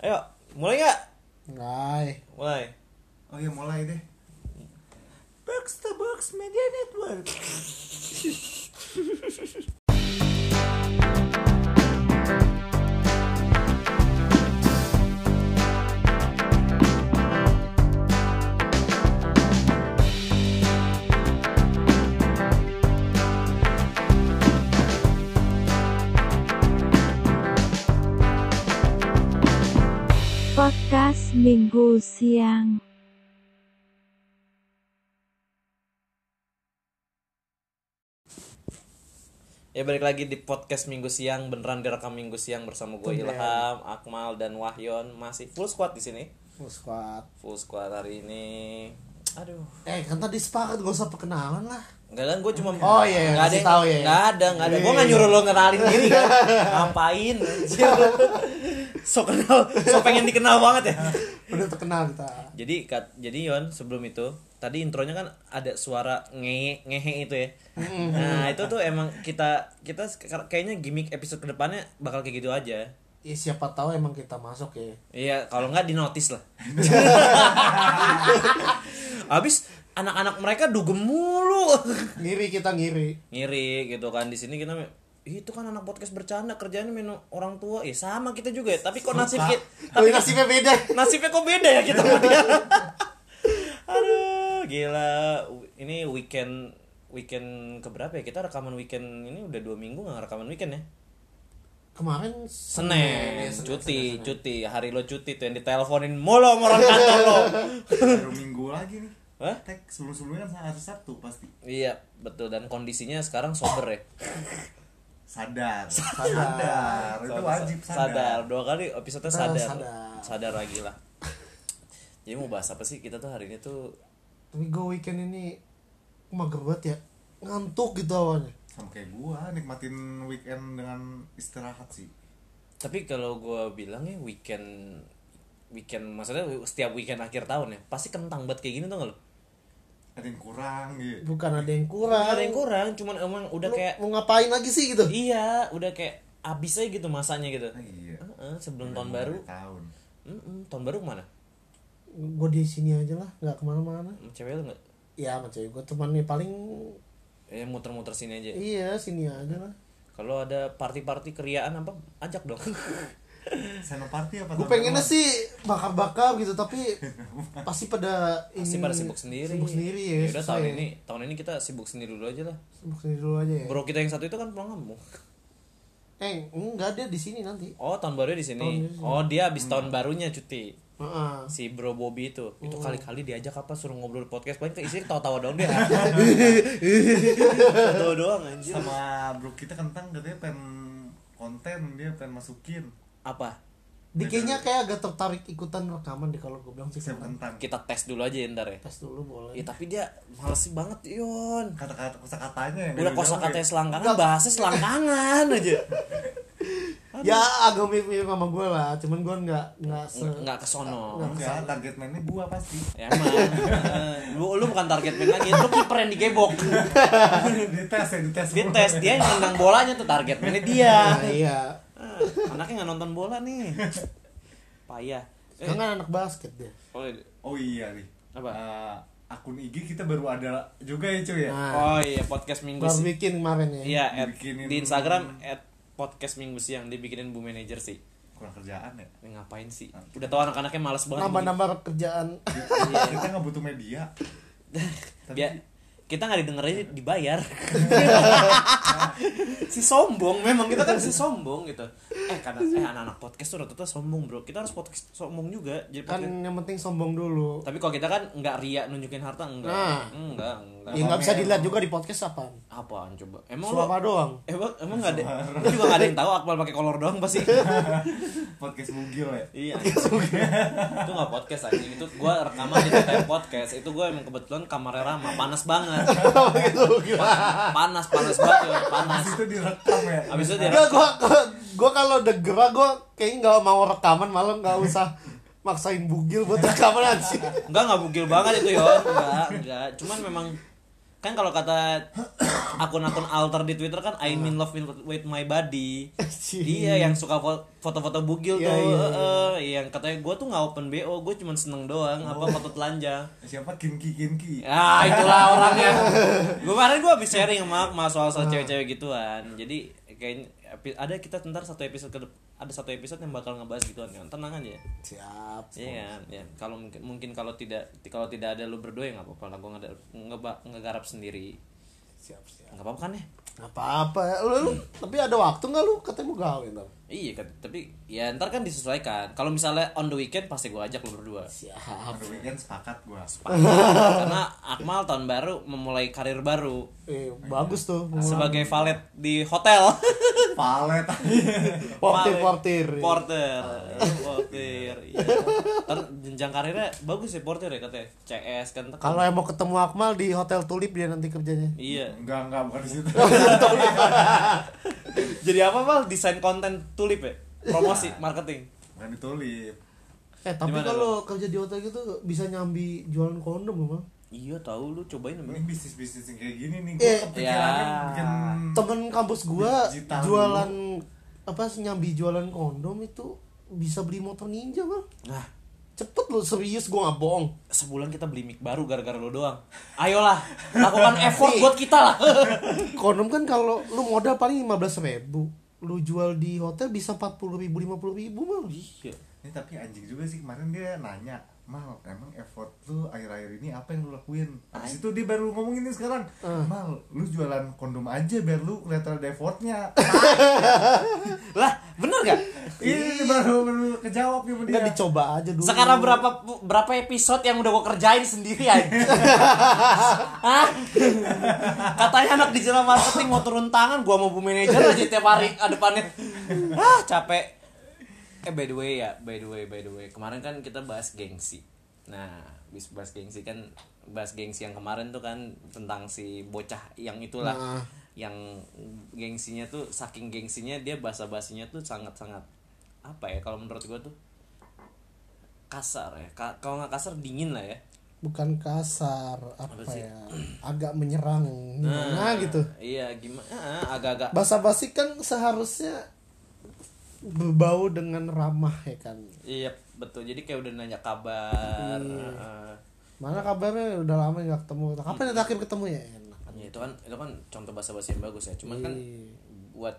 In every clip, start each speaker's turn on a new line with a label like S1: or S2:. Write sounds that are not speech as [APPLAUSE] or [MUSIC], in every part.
S1: Ayo, mulai nggak?
S2: Mulai.
S1: Mulai.
S3: Oh iya mulai deh.
S1: Box to Box Media Network.
S4: Podcast Minggu Siang
S1: Ya balik lagi di podcast Minggu Siang beneran direkam Minggu Siang bersama gue
S2: Tumben.
S1: Ilham, Akmal dan Wahyon masih full squad di sini.
S2: Full squad.
S1: Full squad hari ini. Aduh.
S2: Eh kan tadi sepakat gak usah perkenalan lah.
S1: Enggak kan gue cuma
S2: Oh,
S1: Nggak
S2: iya,
S1: ada
S2: kasih tahu, iya.
S1: Nggak ada, nggak ada. Gue nggak nyuruh lo kenalin diri kan. Ngapain?
S2: [LAUGHS]
S1: anjir? so kenal, so pengen dikenal banget ya.
S2: Udah terkenal kita.
S1: Jadi kat, jadi Yon sebelum itu tadi intronya kan ada suara ngehe ngehe itu ya. Nah itu tuh emang kita kita sekar- kayaknya gimmick episode kedepannya bakal kayak gitu aja.
S2: Ya siapa tahu emang kita masuk ya.
S1: Iya kalau nggak di notice lah. Abis anak-anak mereka dugem mulu.
S2: Ngiri kita ngiri.
S1: Ngiri gitu kan di sini kita me- "Ih, itu kan anak podcast bercanda kerjanya minum orang tua ya sama kita juga ya tapi kok nasib kita
S2: Tapi nasibnya beda.
S1: nasibnya kok beda ya kita sama dia aduh gila ini weekend weekend keberapa ya kita rekaman weekend ini udah dua minggu nggak rekaman weekend ya
S2: Kemarin
S1: Senin,
S2: Hmm, Senin,
S1: cuti,
S2: Senin, Senin.
S1: cuti, hari lo cuti tuh yang diteleponin mulu sama orang kantor lo.
S3: Baru minggu lagi nih.
S1: Iya. Hah?
S3: Tek sebelum sebelumnya kan hari Sabtu pasti.
S1: Iya, betul dan kondisinya sekarang sober ya.
S3: Sadar. Sadar. Itu
S1: Sadar,
S3: wajib sadar.
S1: dua kali episode
S2: Kita
S1: sadar.
S2: sadar.
S1: Sadar lagi lah. Jadi mau bahas apa sih kita tuh hari ini tuh
S2: Tapi gue weekend ini mager banget ya. Ngantuk gitu awalnya.
S3: Sama kayak gua nikmatin weekend dengan istirahat sih.
S1: tapi kalau gua bilang ya weekend weekend maksudnya setiap weekend akhir tahun ya pasti kentang banget kayak gini tuh nggak lo
S3: Ada yang kurang gitu.
S2: Bukan ada yang kurang.
S1: Nggak ada yang kurang cuman emang udah
S2: Lu
S1: kayak
S2: mau ngapain lagi sih gitu?
S1: iya udah kayak abis aja gitu masanya gitu
S3: Ah, iya.
S1: Heeh, sebelum tahun baru
S3: Tahun.
S1: Mm-mm, tahun baru kemana
S2: Gue di sini aja lah, nggak kemana-mana.
S1: Sama cewek lu nggak
S2: Ya sama cewek gue teman nih paling
S1: ya muter-muter sini aja
S2: iya sini aja lah.
S1: kalau ada party-party keriaan apa ajak
S2: [LAUGHS]
S1: dong
S3: Seno party apa?
S2: Gue
S3: tahun
S2: pengennya
S3: baru?
S2: sih bakar-bakar gitu tapi pasti pada ini
S1: pasti pada sibuk sendiri
S2: Hmm, Sibuk sendiri ya.
S1: udah
S2: susah
S1: tahun
S2: ya.
S1: ini tahun ini kita sibuk sendiri dulu aja lah
S2: Sibuk sendiri dulu aja ya.
S1: bro kita yang satu itu kan pulang kampung
S2: Eh, enggak dia di sini nanti.
S1: oh tahun baru di
S2: Tahun
S1: sini
S2: barunya di sini.
S1: oh dia abis tahun barunya cuti
S2: Heeh.
S1: si bro Bobby itu itu kali-kali diajak apa suruh ngobrol di podcast paling keisi tawa-tawa doang dia tawa doang anjir
S3: sama bro kita kentang katanya pengen konten dia pengen masukin
S1: apa
S2: Dia kayaknya kayak agak tertarik ikutan rekaman deh kalau gue bilang sih
S3: siap
S2: kan.
S3: kentang.
S1: kita tes dulu aja ntar ya
S2: Tes dulu boleh.
S1: ya tapi dia males banget yon
S3: Kata-kata kosakatanya yang
S1: udah
S3: beda-beda
S1: kosa katanya
S3: ya.
S1: selangkangan bahasnya selangkangan aja
S2: ya agak mirip-mirip sama gue lah, cuman gue enggak enggak se
S1: Nggak- nggak kesono
S3: Enggak, target mainnya gua pasti.
S1: [LAUGHS] ya emang lu lu bukan target man lagi lu kiper yang digebok
S3: dites ya, dites.
S1: dia
S3: mulu.
S1: tes dia yang nendang bolanya tuh target man-nya dia
S2: Nah, iya.
S1: Ah, anaknya nggak nonton bola nih payah eh,
S2: Sekarang kan anak basket dia.
S1: oh,
S3: Oh iya nih.
S1: Apa?
S3: Eh, akun IG kita baru ada juga ya cuy ya.
S2: Nah,
S1: oh iya podcast minggu sih
S2: baru bikin kemarin ya.
S1: Iya, at-
S3: Bikinin-
S1: di Instagram at podcast minggu siang dibikinin bu manager sih.
S3: Kurang kerjaan ya.
S1: Ini ngapain sih? Udah tau anak-anaknya males banget.
S2: Nambah-nambah kerjaan.
S1: Iya.
S3: kita nggak butuh media.
S1: [LAUGHS] Bikin. Biar- kita nggak didengerin dibayar. si sombong memang kita kan si sombong gitu. Eh kadang eh anak-anak podcast tuh rata-rata sombong bro. Kita harus podcast sombong juga. Jadi
S2: kan
S1: podcast-
S2: yang penting sombong dulu.
S1: Tapi kalau kita kan nggak ria nunjukin harta enggak.
S2: Nah.
S1: Enggak, enggak.
S2: Ya nggak bisa dilihat juga di podcast apaan.
S1: Apaan coba? Emang lu
S2: Suara doang.
S1: Emang emang nggak ada, lu juga nggak ada yang tahu Akmal pakai kolor doang pasti.
S2: [LAUGHS]
S3: Podcast bugil ya.
S1: Iya. itu nggak podcast aja. Itu gue rekaman di TTM podcast. Itu gue emang kebetulan kamarnya ramah, panas banget.
S2: Oh, gitu,
S1: panas, panas banget, ya, panas.
S3: Itu direkam ya.
S1: Abis itu dia
S2: Enggak, gua gua, gua kalau degera gua kayaknya nggak mau rekaman malah nggak usah maksain bugil buat rekaman anjing.
S1: enggak nggak bugil banget itu ya. Enggak, enggak. Cuman memang kan kalau kata akun-akun alter di Twitter kan I mean love with- with my body. Iya yang suka fo- foto-foto bugil tuh,
S2: Iya, iya, Oh.
S1: eh, eh, yang katanya gue tuh nggak open bo, gue cuman seneng doang, apa foto telanjang.
S3: Siapa Kinki Kinki?
S1: Ah itulah orangnya. Gue kemarin gue habis sharing sama sama soal soal cewek-cewek gituan. Jadi kayaknya epi- ada kita ntar satu episode ke dep- ada satu episode yang bakal ngebahas gituan kan. Tenang aja.
S2: Siap.
S1: Iya kan? Ya, kalau mungkin mungkin kalau tidak kalau tidak ada lu berdua ya nggak apa-apa lah gue ngada- ngeba- ngegarap sendiri.
S2: Siap, siap.
S1: Nggak apa-apa kan ya?
S2: Nggak Apa-apa. Lu, lu, tapi ada waktu nggak lu katanya mau gawe ntar?
S1: Iya kan, tapi ya ntar kan disesuaikan. Kalau misalnya on the weekend pasti gue ajak lu berdua.
S2: Siap.
S3: Aduh, weekend sepakat gua.
S1: Karena Akmal tahun baru memulai karir baru
S2: Eh, bagus tuh.
S1: sebagai valet di hotel. [LAUGHS]
S3: Palet.
S2: Portir,
S1: Paling-
S2: portir. Ah,
S1: Porter. [LAUGHS] Porter. Iya. Ntar jenjang karirnya bagus ya porter ya katanya. CS kan. tekan.
S2: Kalau yang mau ketemu Akmal di Hotel Tulip dia nanti kerjanya.
S1: Iya.
S3: Enggak, enggak bukan di
S1: [LAUGHS]
S3: situ.
S1: Jadi apa mal desain konten tulip ya? Promosi, marketing.
S3: Bukan di tulip.
S2: Eh, tapi
S1: Gimana,
S2: kalau kerja di hotel gitu bisa nyambi jualan kondom, Mal.
S1: Iya tahu lu cobain
S3: Ini
S1: namanya.
S3: bisnis-bisnis yang kayak gini nih, gua
S2: Eh,
S3: kepikirannya
S1: ya.
S3: bikin
S2: Temen kampus gua
S3: Digital
S2: jualan apa nyambi jualan kondom itu bisa beli motor ninja, Mal.
S1: Nah,
S2: Cepet lu serius gua nggak bohong.
S1: sebulan kita beli mic baru gara-gara lu doang. Ayolah,
S2: [LAUGHS]
S1: lakukan effort buat kita lah.
S2: Kondom kan kalau lu modal paling 15 ribu lu jual di hotel bisa 40 ribu 50 ribu mal
S1: iya.
S3: Ini tapi anjing juga sih kemarin dia nanya, Mal, emang effort lu akhir-akhir ini apa yang lu lakuin? Abis itu dia baru ngomongin ini sekarang,
S2: Eh.
S3: Mal, lu jualan kondom aja biar lu kelihatan ada effortnya.
S2: [LAUGHS]
S1: Lah, bener gak?
S3: ini baru baru kejawab nih sama dia.
S2: Iya. Nggak dicoba aja dulu
S1: iya. Sekarang berapa berapa episode yang udah gue kerjain sendiri
S2: [LAUGHS]
S1: aja. Hah? Katanya anak digital marketing mau turun tangan, gua mau bu manajer aja tiap hari ah, depannya. Ah, capek. Eh by the way ya, by the way, by the way. Kemarin kan kita bahas gengsi. Nah, bis bahas gengsi kan bahas gengsi yang kemarin tuh kan tentang si bocah yang itulah
S2: Nah.
S1: yang gengsinya tuh saking gengsinya dia bahasa basinya tuh sangat-sangat apa ya kalau menurut gua tuh kasar ya Ka- kalau nggak kasar dingin lah ya
S2: bukan kasar apa,
S1: Apa sih?
S2: ya agak menyerang gimana gitu
S1: iya gimana ah, agak-agak
S2: bahasa basi kan seharusnya berbau dengan ramah ya kan
S1: iya betul jadi kayak udah nanya kabar ah.
S2: mana kabarnya udah lama nggak ketemu kapan yang terakhir ketemu ya enak
S1: Ya, itu kan itu kan contoh bahasa basi yang bagus ya cuman kan
S2: Iya.
S1: buat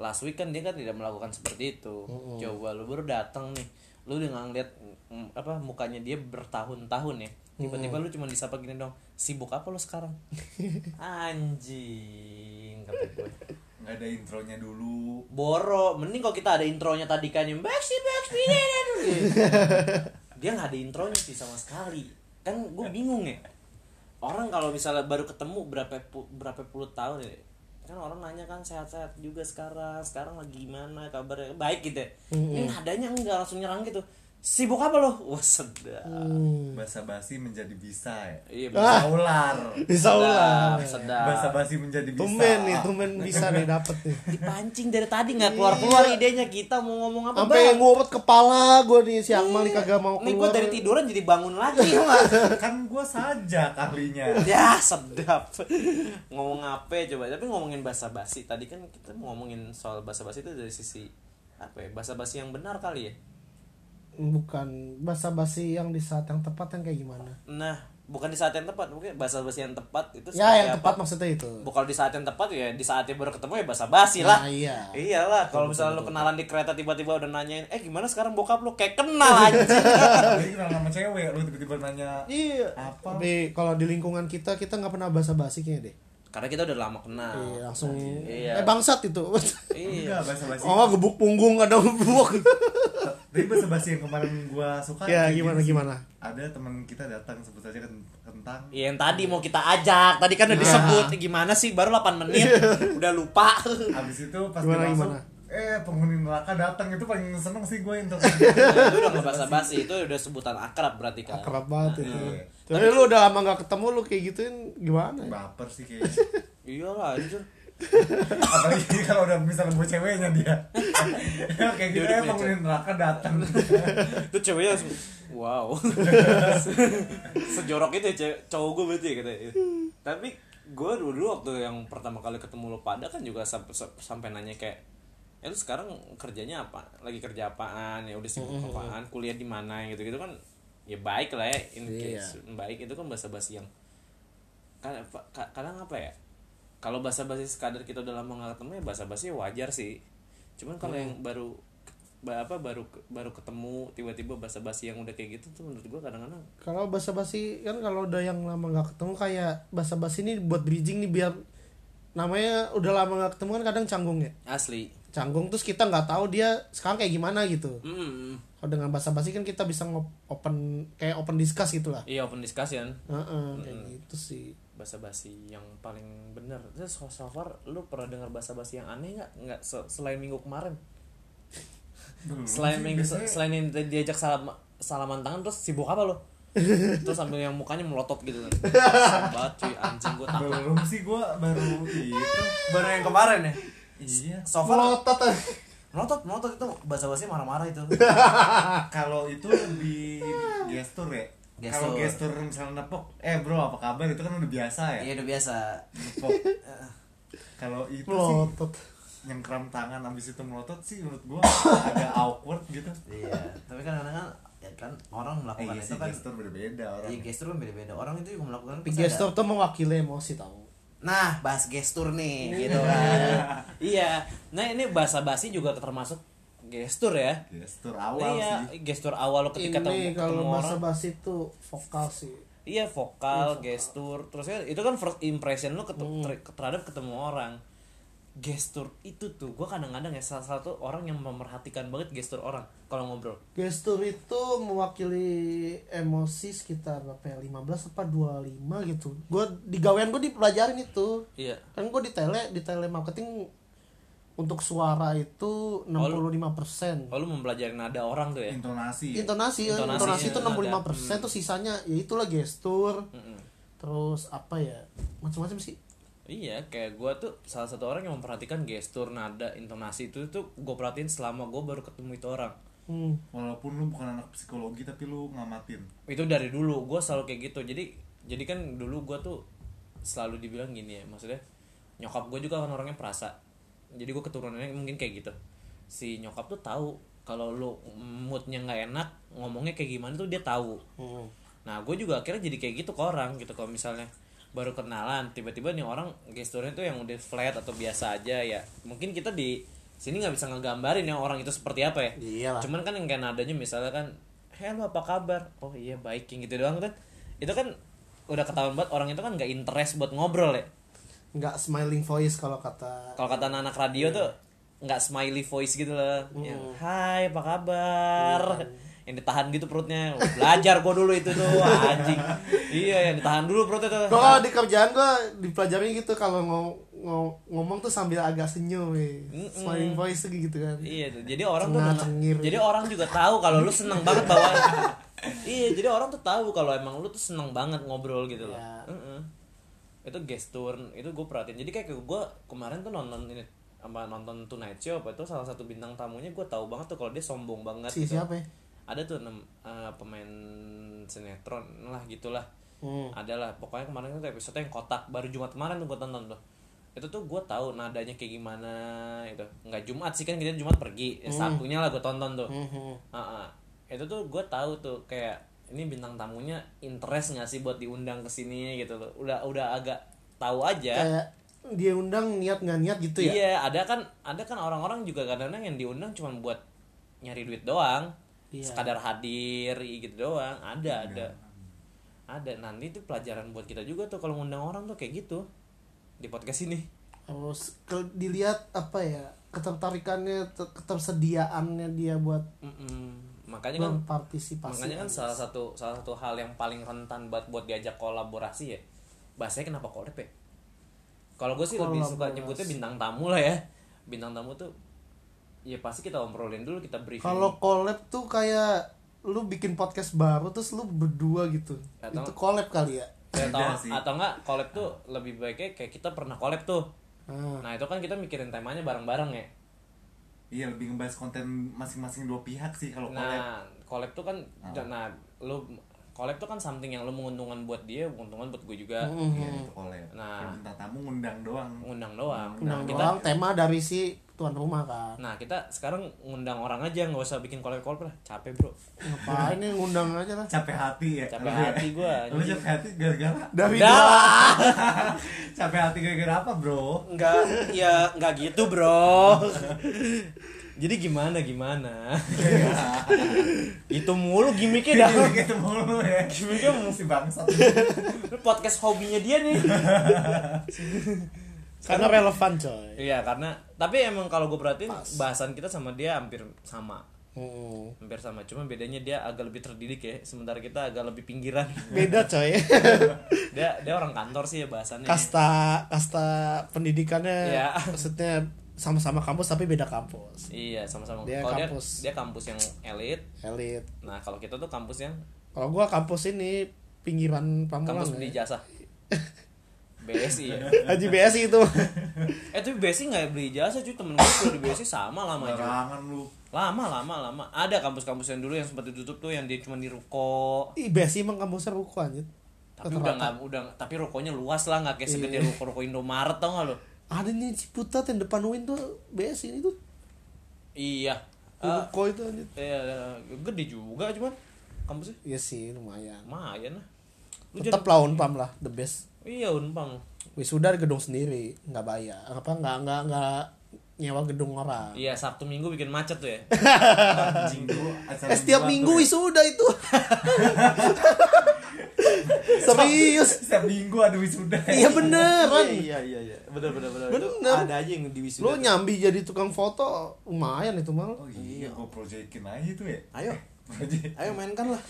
S1: last week kan dia kan tidak melakukan seperti itu coba lu baru datang nih lu udah nggak ngeliat mm, apa mukanya dia bertahun-tahun ya tiba-tiba lu cuma disapa gini dong sibuk apa lu sekarang anjing kata gue
S3: Nggak ada intronya dulu.
S1: Boro, mending kalau kita ada intronya tadi kan yang backstreet backstreet dan- dan- dan." dia nggak ada intronya sih sama sekali. Kan gue bingung ya. Orang kalau misalnya baru ketemu berapa pu- berapa puluh tahun ya, kan orang nanya kan sehat-sehat juga sekarang, sekarang lagi gimana kabarnya baik gitu. ya. Ini nadanya enggak langsung nyerang gitu. Sibuk apa lo? Wah sedap.
S2: Mm. Hmm.
S3: Bahasa basi menjadi bisa ya.
S1: Iya,
S2: Ah.
S3: Bisa ular.
S2: bisa ulang
S1: sedap.
S3: Bahasa basi menjadi bisa.
S2: tumen Iya. nih tumen bisa nih dapet nih
S1: Dipancing dari tadi nggak keluar-keluar idenya kita mau ngomong apa?
S2: sampai
S1: Bang?
S2: ngurut kepala gue nih si Akmal nih kagak mau
S1: Nih gue
S2: keluar
S1: dari tiduran jadi bangun lagi.
S3: [LAUGHS] kan gua sajak ahlinya.
S1: [LAUGHS]
S2: Iya.
S1: ya sedap ngomong apa ya coba tapi ngomongin bahasa basi tadi kan kita mau ngomongin soal bahasa basi itu dari sisi apa ya bahasa basi yang benar kali ya
S2: bukan bahasa basi yang di saat yang tepat yang kayak gimana
S1: nah bukan di saat yang tepat mungkin bahasa basi yang tepat itu
S2: ya yang
S1: seperti
S2: tepat
S1: apa?
S2: maksudnya itu
S1: bukan di saat yang tepat ya di saat yang baru ketemu ya bahasa basi lah
S2: Nah, iya.
S1: iyalah kalau misalnya lu kenalan di kereta tiba-tiba udah nanyain eh gimana sekarang bokap lu kayak kenal aja
S2: [LAUGHS]
S3: Jadi kenal sama cewek lu tiba-tiba nanya
S2: Iya.
S3: Apa?
S2: Tapi kalau di lingkungan kita kita nggak pernah basa-basi kayaknya deh.
S1: karena kita udah lama kenal
S2: Iya, langsung
S1: iya.
S2: eh bangsat [LAUGHS] itu.
S1: iya
S3: Enggak bahasa basi.
S2: oh, gebuk punggung ada gebuk. [LAUGHS]
S3: Tapi bahasa basi yang kemarin gua suka.
S2: Ya,
S3: kayak
S2: gimana,
S3: gini sih.
S2: gimana?
S3: Ada teman kita datang sebut saja Ken- kentang.
S1: Iya, yang tadi mau kita ajak tadi kan udah disebut gimana sih baru 8 menit udah lupa [LAUGHS]
S3: Abis itu pas
S2: Gimana,
S3: dia masuk,
S2: gimana?
S3: eh penghuni neraka datang itu paling seneng sih gue
S1: [LAUGHS]
S3: itu.
S1: Nah, itu udah nggak basa-basi itu udah sebutan akrab berarti kan
S2: Kerap banget itu.
S3: Iya.
S2: Tapi lu udah lama nggak ketemu lu kayak gituin gimana? ya?
S3: Baper sih kayaknya.
S1: iyalah anjir
S3: Apalagi [LAUGHS] kalau udah misalnya buat ceweknya
S1: [LAUGHS]
S3: dia. Kayak gitu
S1: udah
S3: ya
S1: punya
S3: penghuni neraka
S1: [LAUGHS]
S3: datang.
S1: itu ceweknya [LAUGHS] langsung wow sejorok itu ya cewek cowok gue berarti ya katanya tapi gue dulu waktu yang pertama kali ketemu lo pada kan juga sampai sampai nanya kayak ya lu sekarang kerjanya apa lagi kerja apaan ya udah sibuk apaan kuliah di mana gitu gitu kan ya baik lah ya in case baik itu kan bahasa basi yang kan apa- ka- kadang apa ya kalau bahasa basi sekadar kita udah lama nggak ketemu ya bahasa basi wajar sih cuman kalau yang baru ba- apa baru ke- baru ketemu tiba-tiba bahasa basi yang udah kayak gitu tuh menurut gue kadang-kadang
S2: Kalau basa-basi kan kalau udah yang lama nggak ketemu kayak basa-basi ini buat bridging nih biar namanya udah lama nggak ketemu kan kadang canggung ya.
S1: asli
S2: Canggung terus kita nggak tahu dia sekarang kayak gimana gitu.
S1: Mm-mm.
S2: Kalau dengan basa-basi kan kita bisa ngop- open kayak open discuss gitulah.
S1: iya open discussion
S2: Heeh, kayak
S1: Hmm.
S2: gitu sih.
S1: bahasa basi yang paling bener terus so, so far lu pernah dengar bahasa basi yang aneh nggak nggak se- selain minggu kemarin selain minggu se- selain yang di- diajak salam salaman tangan terus sibuk apa
S5: [LAUGHS]
S1: lo terus sambil yang mukanya melotot gitu kan Sabat cuy anjing gue takut
S3: belum sih gue baru itu
S1: baru yang kemarin ya
S3: iya
S1: so far
S2: Melotot.
S1: melotot melotot itu bahasa basi marah-marah [LAUGHS] itu
S2: Ah.
S3: kalau itu lebih gestur ya
S1: Gestur.
S3: kalau
S1: Iya,
S3: gestur misalnya nepok eh bro apa kabar itu kan udah biasa ya
S5: Iya,
S1: udah biasa
S3: nepok eh, kalau itu sih
S2: Melotot.
S3: nyengkram tangan abis itu melotot sih menurut gua agak awkward gitu
S5: iya tapi kan kadang kan ya kan orang
S3: eh
S5: melakukan
S3: iya
S5: itu
S3: sih
S5: kan
S3: gestur berbeda orang
S5: iya gestur kan beda-beda orang itu juga melakukan
S2: Tapi
S5: pasti ada-
S2: gestur tuh mewakili emosi tau.
S5: nah bahas gestur
S1: [LAUGHS]
S5: nih gitu kan
S1: iya nah ini bahasa basi juga termasuk gestur ya
S3: gestur awal
S1: iya,
S3: sih
S1: gestur awal lo ketika
S2: Ini
S1: ketemu, ketemu
S2: kalau
S1: orang
S2: basa-basi tuh vokal sih.
S1: Iya vokal, Hmm. gestur, terus kan itu kan first impression lu ketu- ter- terhadap ketemu orang. Gestur itu tuh gue kadang-kadang ya salah satu orang yang memerhatikan banget gestur orang kalau ngobrol.
S2: Gestur itu mewakili emosi sekitar berapa ya? 15 apa 25 gitu. Gua di gawean gua dipelajarin itu.
S1: Iya.
S2: Kan gua di tele, di tele marketing untuk suara itu 65%.
S1: Kalau lu mempelajari nada orang tuh ya.
S3: intonasi ya.
S2: Intonasi, ya,
S1: Oh, Intonasi,
S2: intonasi itu
S1: iya,
S2: 65%, tuh sisanya ya itulah gestur. Terus apa ya? Macam-macam sih.
S1: Iya, kayak gue tuh salah satu orang yang memperhatikan gestur, nada, intonasi itu tuh gue perhatiin selama gue baru ketemu itu orang.
S2: Hmm.
S3: walaupun lu bukan anak psikologi tapi lu ngamatin
S1: itu dari dulu gue selalu kayak gitu jadi jadi kan dulu gue tuh selalu dibilang gini ya maksudnya nyokap gue juga kan orangnya perasa jadi gue keturunannya mungkin kayak gitu si nyokap tuh tahu kalau lu moodnya nggak enak ngomongnya kayak gimana tuh dia tahu nah gue juga akhirnya jadi kayak gitu ke orang gitu kalau misalnya baru kenalan tiba-tiba nih orang gesturnya tuh yang udah flat atau biasa aja ya mungkin kita di sini nggak bisa ngegambarin ya orang itu seperti apa ya
S2: Iyalah.
S1: cuman kan yang kayak nadanya misalnya kan hello apa kabar oh iya baik yang gitu doang kan itu kan udah ketahuan banget orang itu kan nggak interest buat ngobrol ya
S2: Nggak smiling voice kalau kata
S1: kalau kata anak radio tuh nggak smiley voice gitu loh yang hai apa kabar yang ditahan gitu perutnya belajar gua dulu itu tuh anjing iya yang ditahan dulu perutnya tuh
S2: Gua kalau di kerjaan gua dipelajari gitu kalau ngo- ngo- ngomong tuh sambil agak senyum, weh. smiling voice gitu kan.
S1: Iya, tuh. jadi orang tuh
S2: Cengar
S1: udah-
S2: cengir.
S1: jadi orang juga tahu kalau lu seneng banget bawa. iya, jadi orang tuh tahu kalau emang lu tuh seneng banget ngobrol gitu loh.
S2: Iya.
S1: Mm-mm. Itu gestur, itu gue perhatiin. Jadi kayak gue kemarin tuh nonton ini apa nonton Tonight Show apa itu salah satu bintang tamunya gue tahu banget tuh kalau dia sombong banget.
S2: Si
S1: gitu.
S2: siapa ya?
S1: Ada tuh enam eh, pemain sinetron lah gitulah. Adalah pokoknya kemarin tuh episode yang kotak baru Jumat kemarin tuh gue tonton tuh. Itu tuh gue tahu nadanya kayak gimana itu. Nggak Jumat sih kan kita Jumat pergi. Ya, Sabtunya lah gue tonton
S2: Hmm.
S1: tuh. Ah, ah. Itu tuh gue tahu tuh kayak ini bintang tamunya interest nggak sih buat diundang ke sini gitu loh. Udah udah agak tahu aja.
S2: Kayak dia undang niat nggak niat gitu ya?
S1: Iya, ada kan ada kan orang-orang juga kadang-kadang yang diundang cuma buat nyari duit doang.
S2: Iya.
S1: Sekadar hadir i- gitu doang. Ada, ada. Ada. Nanti itu pelajaran buat kita juga tuh kalau ngundang orang tuh kayak gitu. Di podcast ini.
S2: Terus ke- dilihat apa ya ketertarikannya, te- ketersediaannya dia buat
S1: Mm-mm. Makanya kan
S2: berpartisipasi.
S1: makanya kan salah satu salah satu hal yang paling rentan buat buat diajak kolaborasi ya. Bahasanya kenapa collab ya? Kalau gue sih lebih suka nyebutnya bintang tamu lah ya. Bintang tamu tuh ya pasti kita omrolin dulu, kita briefing.
S2: Kalau collab tuh kayak lu bikin podcast baru terus lu berdua gitu.
S1: Atau-
S2: Itu collab kali ya?
S1: Ya, atau,
S3: Beda sih.
S1: atau enggak collab tuh lebih baiknya kayak kita pernah collab tuh
S2: Ah.
S1: nah itu kan kita mikirin temanya bareng-bareng ya
S3: iya lebih ngebahas konten masing-masing dua pihak sih kalau collab
S1: nah collab tuh kan nah lu collab tuh kan something yang lu menguntungkan buat dia menguntungkan buat gue juga
S3: Iya, itu kolab.
S1: Mhm. Nah.
S3: Kalau bintang tamu ngundang doang.
S1: ngundang doang
S2: Undang
S1: kita
S2: Nah, doang tema dari si tuan rumah kan.
S1: nah kita sekarang ngundang orang aja nggak usah bikin collab collab lah capek bro
S2: Ngapain nih ngundang aja lah.
S3: Capek hati ya.
S1: Capek
S3: lu ya?
S1: hati gua,
S3: Lu
S1: anjing.
S3: capek hati gara-gara.
S2: Dari
S1: Dah
S3: [LAUGHS] capek hati gara-gara apa, Bro?
S1: nggak ya nggak gitu bro jadi gimana
S3: [LAUGHS]
S1: gimana itu mulu gimmicknya dah
S3: Gitu mulu ya.
S1: Gimana kamu?
S3: si bangsat.
S1: Ini podcast hobinya dia nih
S2: karena relevan coy.
S1: iya karena tapi emang kalau gue perhatiin bahasan kita sama dia hampir sama
S2: Mm.
S1: hampir sama cuma bedanya dia agak lebih terdidik ya sementara kita agak lebih
S2: [LAUGHS]
S1: pinggiran
S2: Beda coy.
S1: Iya. dia dia orang kantor sih ya bahasannya
S2: kasta kasta pendidikannya
S1: Iya.
S2: maksudnya sama-sama kampus tapi beda kampus.
S1: iya sama-sama
S2: Dia
S1: kalau dia
S2: kampus.
S1: dia kampus yang elit
S2: Elit.
S1: nah kalau kita tuh kampus yang
S2: Kalau gua kampus ini pinggiran Pamulang.
S1: kampus
S2: ya.
S1: beli
S2: [LAUGHS]
S1: jasa BSI ya
S2: Haji BSI itu.
S1: Eh tapi BSI nggak beli jasa cuy temen gue kalau di BSI sama lama aja
S3: Barangan lu.
S1: Lama lama lama Ada kampus-kampus yang dulu yang sempat ditutup tuh yang dia cuma di ruko
S2: Ih, BSI emang kampusnya ruko anjir.
S1: Tapi udah nggak udah tapi rukonya luas lah nggak kayak segede
S2: Iya.
S1: ruko-ruko Indomaret tau nggak lo
S2: Ada nih Ciputat yang depan UIN tuh BSI itu
S1: Iya Eh,
S2: ruko itu anjir.
S1: eh, Gede juga cuman kampusnya
S2: Iya sih lumayan.
S1: lumayan lah Lu jadi-
S2: Tetap lah Unpam lah the best.
S1: Iya unpang
S2: Wisuda di gedung sendiri, nggak bayar. Apa nggak nggak nggak nyewa gedung orang.
S1: Iya Sabtu Minggu bikin macet tuh ya
S3: Anjing tuh
S2: Eh
S3: acara
S2: setiap
S3: mingguan
S2: minggu
S3: tuh ya.
S2: wisuda
S6: [LAUGHS]
S2: itu. Serius.
S3: ya. setiap minggu ada wisuda.
S2: Iya beneran.
S6: [LAUGHS] Iya iya iya. Benar benar benar.
S2: Bener.
S6: Ada aja yang di wisuda.
S2: Lo
S6: tuh.
S2: nyambi jadi tukang foto lumayan itu mal.
S3: Oh iya, gua proyekin aja tuh ya.
S5: Ayo.
S3: Project.
S5: Ayo mainkan Kan lah.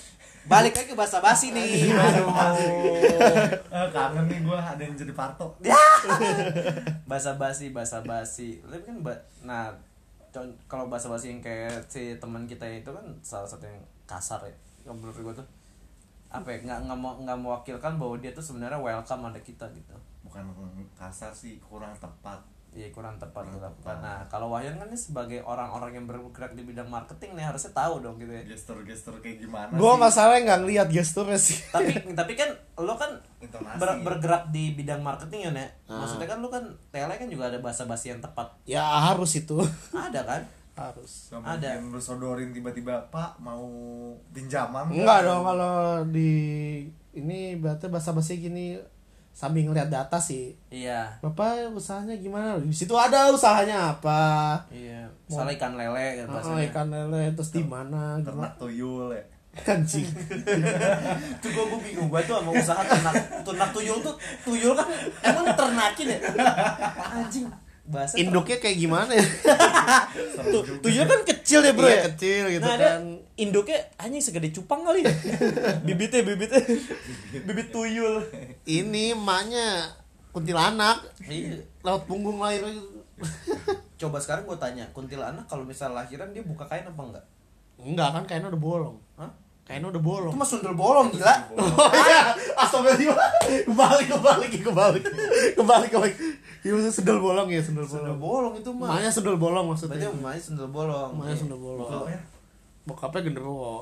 S5: Balik lagi ke bahasa basi nih.
S1: Iya.
S3: Eh, kangen nih gua ada yang jadi parto.
S5: bahasa basi, bahasa basi. Tapi kan ba- nah con- kalau bahasa basi yang kayak si teman kita itu kan salah satu yang kasar ya. Yang menurut gue tuh apa ya nggak nggak mau nggak mewakilkan bahwa dia tuh sebenarnya welcome ada kita gitu
S3: Bukan kasar sih, kurang tepat.
S5: Iya kurang tepat kurang tepat. Nah kalau Wahyan kan ini sebagai orang-orang yang bergerak di bidang marketing nih harusnya tahu dong gitu ya.
S3: Gestur-gestur kayak gimana
S2: Gua
S3: sih?
S2: masalahnya nggak ngeliat gesturnya sih. [LAUGHS]
S5: [LAUGHS] tapi tapi kan lo kan
S3: Intonasi.
S5: ber- bergerak di bidang marketing ya nek. Maksudnya kan lo kan tele kan juga ada bahasa basi yang tepat.
S2: Ya harus itu.
S5: Ada kan?
S2: Harus.
S3: Sama
S5: Ada.
S3: yang lu sodorin tiba-tiba, Pak mau pinjaman nggak?"
S2: Enggak dong kalau di ini berarti bahasa basi gini sambil ngeliat data sih.
S5: Iya.
S2: Bapak usahanya gimana? Di situ ada usahanya apa?
S5: Iya. Misalnya ikan lele kan
S2: Oh,
S5: bahasanya.
S2: ikan lele terus di mana? Kan, Gimana?
S3: ternak tuyul ya.
S2: Anjing.
S5: [LAUGHS] Itu gue bingung gue tuh sama usaha ternak ternak tuyul tuh tuyul kan emang ternakin ya. Anjing. Bahasa ter-
S2: Induknya kayak gimana ya?
S3: Seru juga.
S1: Tuyulnya kan kecil ya bro
S2: Iya,
S1: ya
S2: kecil gitu
S1: nah,
S2: kan.
S1: ada induknya hanya segede cupang
S5: [LAUGHS]
S1: kali ya bibitnya bibitnya bibit tuyul
S2: Ini emaknya kuntilanak
S5: Iya.
S2: lewat punggung lahir [LAUGHS]
S5: Coba sekarang gue tanya, kuntilanak kalau misal lahiran dia buka kain apa enggak?
S2: enggak kan kayaknya udah bolong
S5: Hah?
S2: kayaknya udah bolong
S5: Itu
S2: [LAUGHS]
S5: mah sundel bolong gila.
S2: oh iya astagfirullah [LAUGHS] kebalik kebalik kebalik kebalik kebalik Iya, maksudnya sendal bolong ya sendal
S5: Sundel bolong
S2: bolong
S5: itu mah.
S2: emaknya sendal bolong
S5: Berarti
S2: maksudnya
S5: emaknya sundel bolong.
S2: emaknya
S5: Iya. [LAUGHS]
S2: sendal bolong
S3: Bokapnya-
S2: bokapnya genderuwo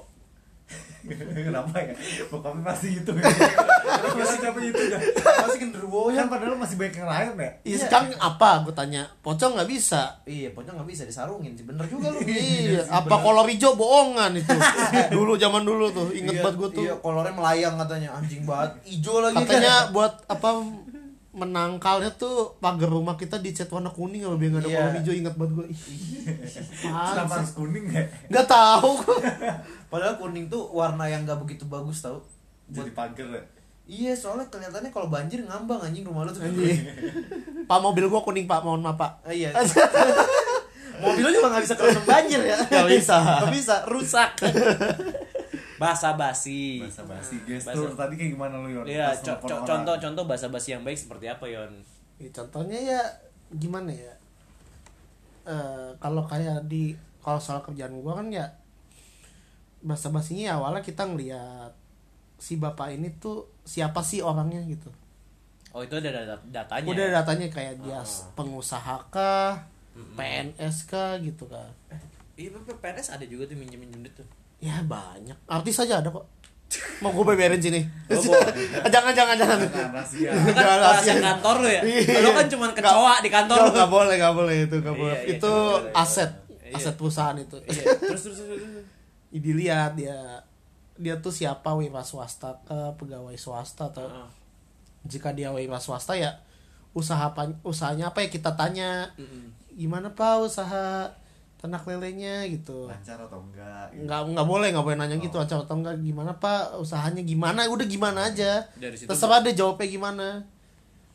S3: [LAUGHS] Kenapa ya? Bokapnya pasti gitu ya. Kenapa masih capek itu dah?
S5: Masih genderuwo ya.
S3: Kan ya? padahal masih banyak yang lain ya.
S2: Iya, sekarang apa? Gue tanya. Pocong nggak bisa.
S5: Iya, pocong nggak bisa disarungin sih. Bener juga lu.
S2: Iya, apa kolor hijau bohongan
S5: [LAUGHS]
S2: itu. dulu zaman dulu tuh, inget
S5: Iya,
S2: banget gue tuh.
S5: Iya, kolornya melayang katanya. Anjing banget, ijo lagi. kan?
S2: Katanya buat apa menangkalnya tuh pagar rumah kita dicat warna kuning apa biar nggak ada
S5: Iya.
S2: kolor hijau inget banget gue.
S3: Kenapa harus kuning ya?
S2: Gak tahu [LAUGHS] gue.
S5: Padahal kuning tuh warna yang nggak begitu bagus tau.
S3: Jadi pagar ya.
S5: Iya, soalnya kelihatannya kalau banjir ngambang anjing rumah lu tuh.
S2: Pak mobil gue kuning pak, mohon maaf pak.
S5: Ah,
S2: [LAUGHS]
S5: iya. Mobil lu juga nggak bisa kerenam banjir ya.
S2: Nggak bisa.
S5: Nggak bisa, rusak.
S1: bahasa basi
S3: Bahasa basi gestur Iya. tadi kayak gimana lu Yon?
S1: Iya,
S3: Pas
S1: co-
S3: nelfon
S1: co-
S3: orang.
S1: contoh contoh bahasa basi yang baik seperti apa Yon?
S2: Ya, contohnya ya gimana ya? Eh, kalau kayak di kalau soal kerjaan gue kan ya bahasa basinya awalnya kita ngeliat si bapak ini tuh siapa sih orangnya gitu.
S1: Oh itu ada dat- datanya.
S2: udah
S1: ya?
S2: datanya kayak dia pengusaha kah PNS kah gitu kan
S6: [LAUGHS]
S1: Iya, P- PNS ada juga tuh minjem minjem duit tuh.
S2: ya banyak artis aja ada kok mau gue beberin sini [LAUGHS] jangan jangan jangan
S3: Nah, rahasia.
S2: jangan
S1: Oh, rahasia
S2: rahasia.
S1: kan kantor lu ya
S2: Iya.
S1: lu kan cuma kecoa di kantor lu
S2: Nggak, nggak boleh nggak boleh itu nggak
S6: Iya,
S2: boleh
S6: iya,
S2: itu
S6: nggak boleh, nggak
S2: aset
S6: boleh.
S2: aset
S6: Iya.
S2: perusahaan itu
S6: Iya, terus terus terus. terus.
S2: [LAUGHS] dilihat dia dia tuh siapa wira swasta ke pegawai swasta atau
S6: Heeh.
S2: jika dia wira swasta ya usaha apa usahanya apa ya kita tanya gimana pak usaha ternak lelenya gitu
S6: Nah.
S3: lancar atau enggak gitu.
S2: nggak nggak boleh nggak boleh nanya gitu
S6: Oh.
S2: acau atau enggak gimana pak usahanya gimana udah gimana aja
S6: Dari situ-
S2: terserah deh jawabnya gimana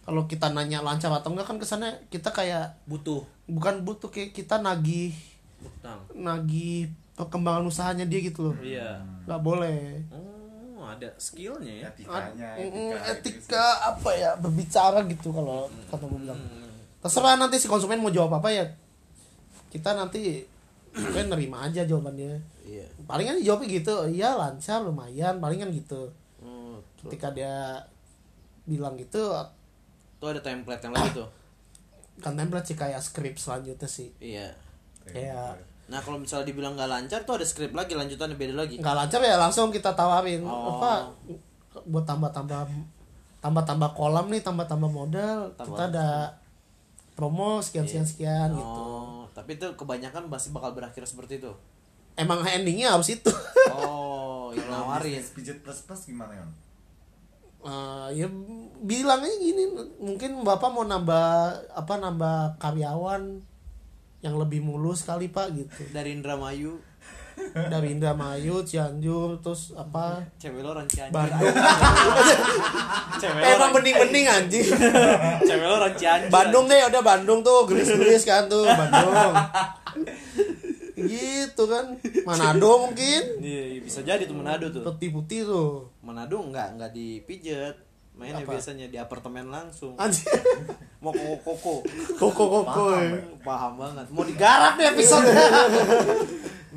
S2: kalau kita nanya lancar atau enggak kan kesannya kita kayak
S1: butuh
S2: bukan butuh kayak kita nagih
S6: Utang.
S2: nagih perkembangan usahanya dia gitu loh
S6: Iya.
S2: nggak boleh
S6: Oh, ada skillnya ya.
S3: etikanya gitu
S2: Mm,
S3: kan. etika,
S2: etika apa ya berbicara gitu kalau kata gue bilang terserah nanti si konsumen mau jawab apa ya kita nanti kita nerima aja jawabannya
S6: Iya.
S2: palingan jawabnya gitu iya lancar lumayan palingan gitu
S6: Oh, tuh.
S2: ketika dia bilang gitu
S6: Tuh ada template yang lagi tuh.
S2: kan template sih kayak script selanjutnya sih
S6: Iya.
S3: gitu.
S2: kayak
S6: Nah, kalau misalnya dibilang nggak lancar tuh ada skrip lagi, lanjutannya beda
S1: Oh,
S6: lagi.
S2: nggak lancar ya langsung kita tawarin
S6: Oh.
S2: apa buat tambah-tambah tambah-tambah kolam nih tambah-tambah modal kita ada promo sekian sekian sekian gitu
S6: Iya. Oh, tapi itu kebanyakan pasti bakal berakhir seperti
S1: [LAUGHS]
S6: itu.
S2: emang endingnya harus itu [LAUGHS]
S6: Oh, yang
S3: Kalau
S6: nawarin.
S3: bisnis pijat plus plus gimana ya
S2: Eh, ya bilangnya gini mungkin bapak mau nambah apa nambah karyawan yang lebih mulus kali pak gitu
S6: Dari Indramayu,
S2: dari Indramayu Cianjur terus apa
S6: cewek lo orang Cianjur.
S2: Bandung
S6: Cewek lo
S2: emang
S6: orang-
S2: bening-bening anjing
S6: [LAUGHS] cewek lo orang Cianjur.
S2: Bandung deh udah Bandung tuh gelis-gelis kan tuh Bandung gitu kan Manado mungkin
S6: Iya, bisa jadi tuh Manado tuh.
S2: putih-putih tuh
S6: Manado nggak nggak dipijet, mainnya
S2: Apa?
S6: biasanya di apartemen langsung.
S2: anjing
S6: Mau koko koko,
S2: koko koko
S3: Paham,
S2: ya.
S3: ya.
S6: paham banget. Mau diga
S2: garap nih episode
S6: [LAUGHS]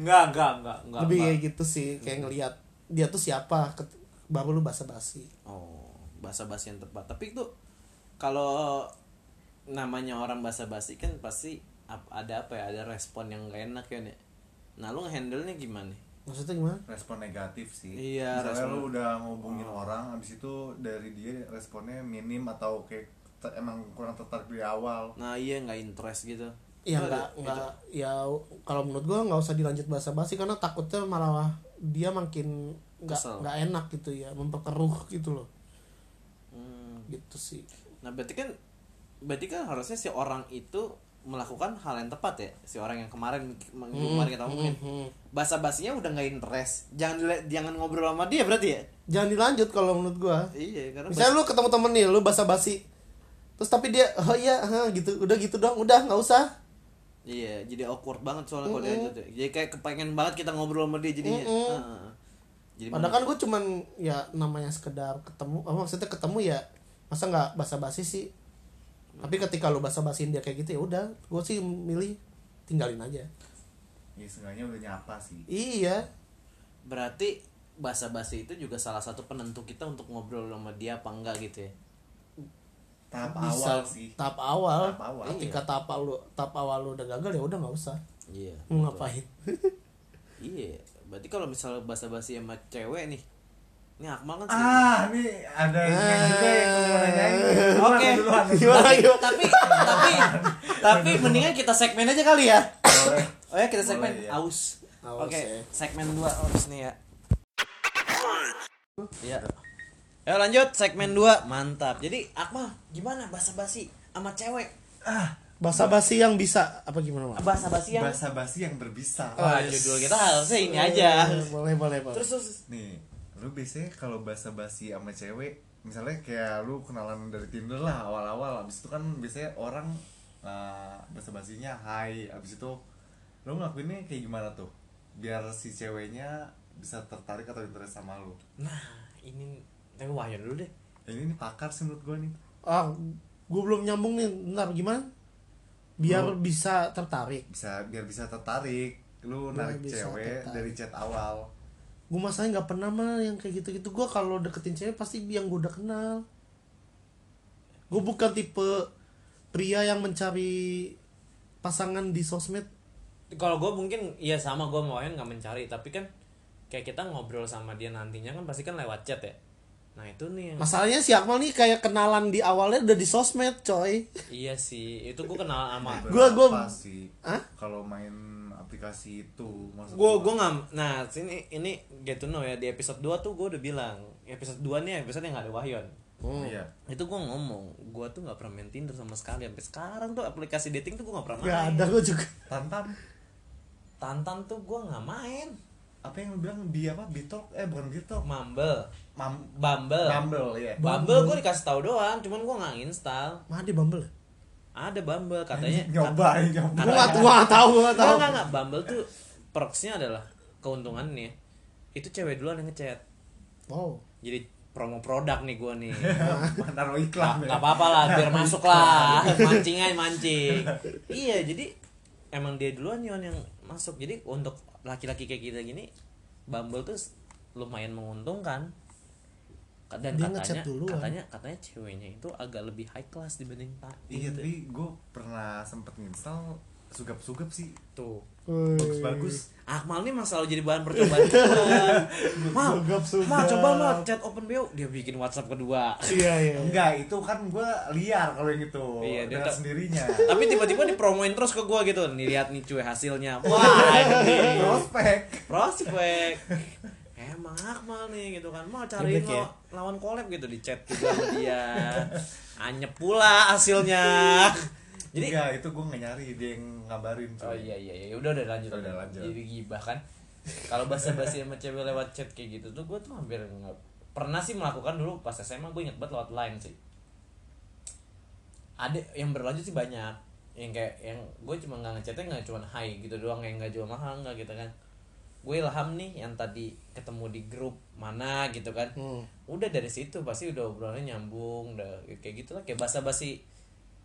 S6: nggak nggak nggak nggak.
S2: lebih kayak
S6: nggak.
S2: gitu sih kayak ngelihat dia tuh siapa ket- baru lu basa-basi
S6: Oh, bahasa basi yang tepat. Tapi itu kalau namanya orang bahasa basi kan pasti ap- ada apa ya? Ada respon yang gak enak ya nih. Nah, lu handle nya gimana?
S2: maksudnya gimana
S3: respon negatif sih
S6: Iya,
S3: misalnya
S6: respon-
S3: lu udah ngubungin orang abis itu dari dia responnya minim atau kayak ter- emang kurang tertarik di awal
S6: Nah, iya nggak interest gitu.
S2: ya
S6: Lu ada-
S2: nggak nggak ya kalau menurut gua nggak usah dilanjut basa-basi karena takutnya malah dia makin
S6: Kesel.
S2: nggak nggak enak gitu ya memperkeruh gitu loh
S6: Hmm.
S2: gitu sih
S6: Nah, berarti kan berarti kan harusnya si orang itu melakukan hal yang tepat ya si orang yang kemarin
S2: Hmm,
S6: kemarin kita ngomongin bahasa basinya udah nggak interest jangan dile- jangan ngobrol sama dia berarti ya
S2: jangan dilanjut kalau menurut gua
S6: iya karena
S2: misalnya lu ketemu temen nih lu basa-basi terus tapi dia oh iya hah, gitu udah gitu dong udah nggak usah
S6: Iya, jadi awkward banget soalnya kalau
S2: Hmm.
S6: diajak tuh. Jadi kayak kepengen banget kita ngobrol sama dia jadinya.
S2: Mm-mm.
S6: Heeh.
S1: Iya.
S6: Jadi
S2: padahal kan gue cuman ya namanya sekedar ketemu apa maksudnya ketemu ya masa nggak basa-basi sih tapi ketika lu basa-basiin dia kayak gitu ya udah gue sih milih tinggalin aja
S3: ya seenggaknya udah nyapa sih
S2: iya
S6: berarti bahasa basi itu juga salah satu penentu kita untuk ngobrol sama dia apa enggak gitu ya.
S3: tahap
S2: bisa
S3: awal sih
S2: tahap awal,
S3: Tahap awal, iya.
S2: ketika tahap awal lu tahap awal lu udah gagal ya udah nggak usah
S6: Iya.
S2: mau ngapain
S6: Iya, berarti kalau misalnya bahasa basi sama cewek nih. Ini Akmal kan sering-
S3: ah ini ada yang juga yang mau nanyain
S1: Oke.
S6: [LAUGHS]
S3: Duluan, duluan.
S1: Tapi, tapi, tapi, tapi mendingan kita segmen aja kali ya.
S3: Boleh.
S1: Oh ya kita segmen
S3: Boleh, ya.
S1: aus.
S2: Aus,
S1: Oke,
S2: ya.
S1: segmen dua
S6: Oh,
S1: aus nih ya.
S6: Iya. Ya lanjut segmen 2. Mantap. Jadi Akmal gimana bahasa basi sama cewek?
S2: basa-basi yang bisa apa gimana Mak?
S1: Bahasa basi yang
S3: bahasa basi yang berbisa
S2: Oh,
S1: Wah,
S2: iya.
S1: judul kita harusnya ini aja.
S2: Eh, boleh boleh boleh
S1: Terus, terus
S3: nih lu biasanya kalau basa basi sama cewek misalnya kayak lu kenalan dari tinder lah awal awal abis itu kan biasanya orang basa basinya hai abis itu lu ngelakuinnya kayak gimana tuh biar si ceweknya bisa tertarik atau interest sama lu
S1: Nah, ini tapi Wahyu dulu deh.
S3: ini, ini pakar sih menurut gua nih
S2: ah gue belum nyambung nih ntar gimana biar bisa tertarik
S3: bisa biar bisa tertarik lu
S2: Biar
S3: narik
S2: bisa
S3: cewek
S2: tertarik.
S3: dari chat awal
S2: gue masalahnya nggak pernah mah yang kayak gitu gitu gue kalau deketin cewek pasti yang gue udah kenal gue bukan tipe pria yang mencari pasangan di sosmed
S6: iya
S1: Kalau gue mungkin ya sama gue sama Wahyu nggak mencari, tapi kan
S6: kayak kita ngobrol sama dia nantinya kan pasti kan lewat chat ya nah itu nih yang-
S2: Masalahnya si Akmal nih kayak kenalan di awalnya udah di sosmed, coy.
S6: iya sih itu gue kenal sama
S2: Gua- gua-
S3: Berapa sih
S2: Hah?
S3: kalau main aplikasi itu maksud
S6: gue gue nggak nah sini ini get to know ya di episode 2 tuh gue udah bilang episode 2 nih episode yang gak ada Wahyon
S3: iya
S6: itu gue ngomong gue tuh nggak pernah main Tinder sama sekali sampai sekarang tuh aplikasi dating tuh gue nggak pernah
S2: Gak
S6: main
S2: ada gue juga.
S3: tantam
S6: Tantan tuh gue nggak main
S3: apa yang lu bilang di apa bitok eh bukan bitok
S6: Mumble
S3: mam
S6: Bumble
S3: Bumble ya
S6: Bumble gue dikasih tahu doang cuman gue nggak install
S2: Mana di Bumble?
S6: ada Bumble katanya
S3: nyoba nyoba
S2: Gue gak, gua gak tau, gue gak
S6: Enggak,
S2: tau.
S6: enggak, enggak. Bumble tuh perksnya adalah keuntungannya itu cewek duluan yang ngechat.
S2: Wow.
S6: Jadi promo produk nih gua nih. [LAUGHS]
S3: [LAUGHS] naruh
S6: Nggak
S3: iklan ya.
S6: nggak apa-apa lah, biar masuk lah. Mancing aja mancing. Iya, jadi emang dia duluan Yon yang masuk. Jadi untuk laki-laki kayak kita gini, Bumble tuh lumayan menguntungkan. Dan
S2: Dia
S6: katanya,
S2: ngechat duluan.
S6: katanya katanya ceweknya itu agak lebih high class dibanding Pak.
S3: iya tapi gue pernah sempet install sugap-sugap sih
S6: tuh.
S2: Iya,
S3: bagus-bagus
S6: Akmal Ah, nih masalah jadi bahan
S2: [LAUGHS]
S6: percobaan kita. Mal, mal coba mal chat open bio dia bikin WhatsApp kedua.
S2: Iya, iya.
S3: enggak itu kan gue liar kalau yang itu
S6: Iya, dia
S3: dengan
S6: tak- [LAUGHS]
S3: sendirinya
S6: Tapi tiba-tiba dipromoin terus ke gua gitu. Nih lihat nih cuy hasilnya. Wah, ini
S3: prospek
S6: prospek. Emang Akmal nih gitu kan. Mau cariin
S2: Ribet ya?
S6: law- lawan collab gitu di chat juga sama dia. Anyep pula
S2: [LAUGHS]
S6: hasilnya. Jadi
S3: enggak Iya, itu gue nggak nyari dia yang ngabarin cuy.
S6: Oh iya iya iya udah udah lanjut.
S3: Udah, lanjut.
S6: Jadi gibah kan. Kalau basa-basi sama cewek lewat chat kayak gitu tuh gue tuh hampir nggak pernah sih melakukan dulu pas SMA gue inget banget lewat line sih. Ada yang berlanjut sih banyak yang kayak yang gue cuma nggak ngechatnya nggak cuma hai gitu doang yang nggak jual mahal nggak gitu kan gue ilham nih yang tadi ketemu di grup mana gitu kan
S2: Hmm.
S6: udah dari situ pasti udah obrolannya nyambung udah kayak gitulah kayak basa-basi